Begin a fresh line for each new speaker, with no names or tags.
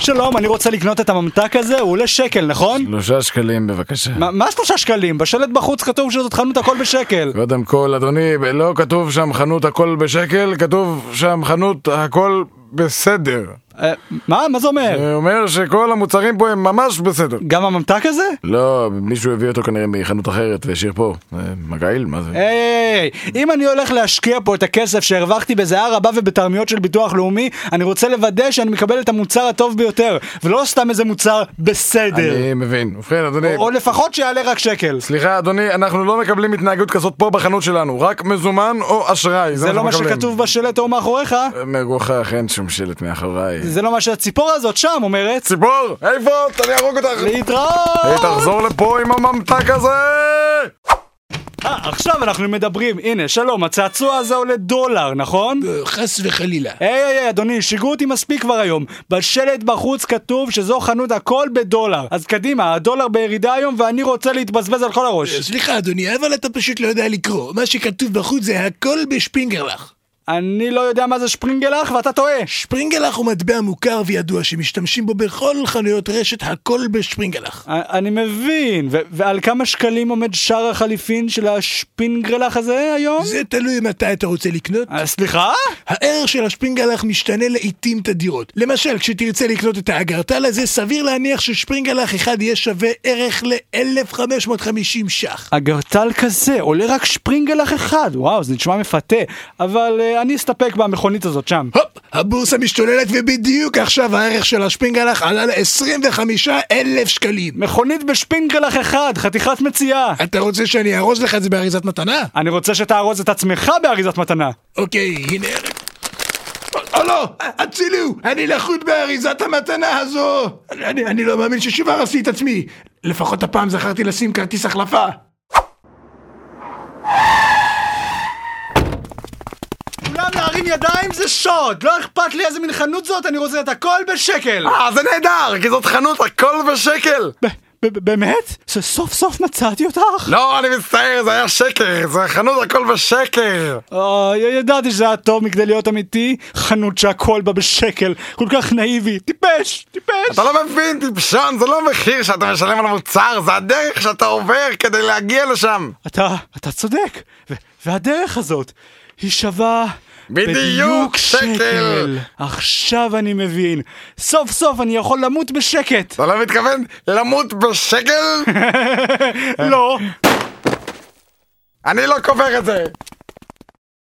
שלום, אני רוצה לקנות את הממתק הזה, הוא עולה שקל, נכון?
שלושה שקלים בבקשה.
מה- מה שלושה שקלים? בשלט בחוץ כתוב שזאת חנות הכל בשקל.
קודם כל, אדוני, ב- לא כתוב שם חנות הכל בשקל, כתוב שם חנות הכל בסדר.
אה, מה? מה זה אומר?
זה אומר שכל המוצרים פה הם ממש בסדר.
גם הממתק הזה?
לא, מישהו הביא אותו כנראה מחנות אחרת והשאיר פה. אה, מגעיל? מה זה?
היי, אם אני הולך להשקיע פה את הכסף שהרווחתי בזיעה רבה ובתרמיות של ביטוח לאומי, אני רוצה לוודא שאני מקבל את המוצר הטוב ביותר, ולא סתם איזה מוצר בסדר.
אני לא מבין. ובכן, אדוני...
או לפחות שיעלה רק שקל.
סליחה, אדוני, אנחנו לא מקבלים התנהגות כזאת פה בחנות שלנו, רק מזומן או אשראי.
זה לא מה
אנחנו מקבלים.
שכתוב בשלט או מאחוריך,
מגוחך, אין שום שלט מאחוריי.
זה לא מה שהציפור הזאת שם אומרת.
ציפור, איפה? את? אני אהרוג אותך. היי,
להתראות!
תחזור לפה עם הממתק הזה!
אה, עכשיו אנחנו מדברים, הנה, שלום, הצעצוע הזה עולה דולר, נכון?
חס וחלילה.
היי היי היי, אדוני, שיגעו אותי מספיק כבר היום. בשלט בחוץ כתוב שזו חנות הכל בדולר. אז קדימה, הדולר בירידה היום ואני רוצה להתבזבז על כל הראש.
סליחה אדוני, אבל אתה פשוט לא יודע לקרוא. מה שכתוב בחוץ זה הכל בשפינגרלך.
אני לא יודע מה זה שפרינגלח ואתה טועה.
שפרינגלך הוא מטבע מוכר וידוע שמשתמשים בו בכל חנויות רשת הכל בשפרינגלך.
א- אני מבין, ו- ועל כמה שקלים עומד שער החליפין של השפינגרלח הזה היום?
זה תלוי מתי אתה רוצה לקנות.
אה, סליחה?
הערך של השפרינגלך משתנה לעיתים תדירות. למשל, כשתרצה לקנות את האגרטל הזה, סביר להניח ששפרינגלך אחד יהיה שווה ערך ל-1550 ש"ח.
הגרטל כזה, עולה רק שפרינגלח אחד. וואו, זה נשמע מפתה. אבל אה, אני אסתפק במכונית הזאת שם.
הופ, הבורסה משתוללת ובדיוק עכשיו הערך של השפרינגלך עלה ל-25,000 שקלים.
מכונית בשפינגלח אחד, חתיכת מציאה.
אתה רוצה שאני אארוז לך את זה באריזת מתנה?
אני רוצה שתארוז את עצמך באריזת מתנה.
אוקיי, הנה... או לא! הצילו! אני לחוט באריזת המתנה הזו! אני, אני לא מאמין ששוב הרסתי את עצמי! לפחות הפעם זכרתי לשים כרטיס החלפה!
כולם להרים ידיים זה שוד! לא אכפת לי איזה מין חנות זאת, אני רוצה את הכל בשקל!
אה, זה נהדר, כי זאת חנות הכל בשקל!
באמת? סוף סוף מצאתי אותך?
לא, אני מצטער, זה היה שקר, זה חנות הכל בשקר!
אוי, ידעתי שזה היה טוב מכדי להיות אמיתי. חנות שהכל בה בשקל, כל כך נאיבי. טיפש, טיפש!
אתה לא מבין, טיפשון, זה לא המחיר שאתה משלם על המוצר, זה הדרך שאתה עובר כדי להגיע לשם!
אתה, אתה צודק. ו- והדרך הזאת, היא שווה...
בדיוק שקל.
עכשיו אני מבין. סוף סוף אני יכול למות בשקט.
אתה לא מתכוון למות בשקל?
לא.
אני לא קובר את זה!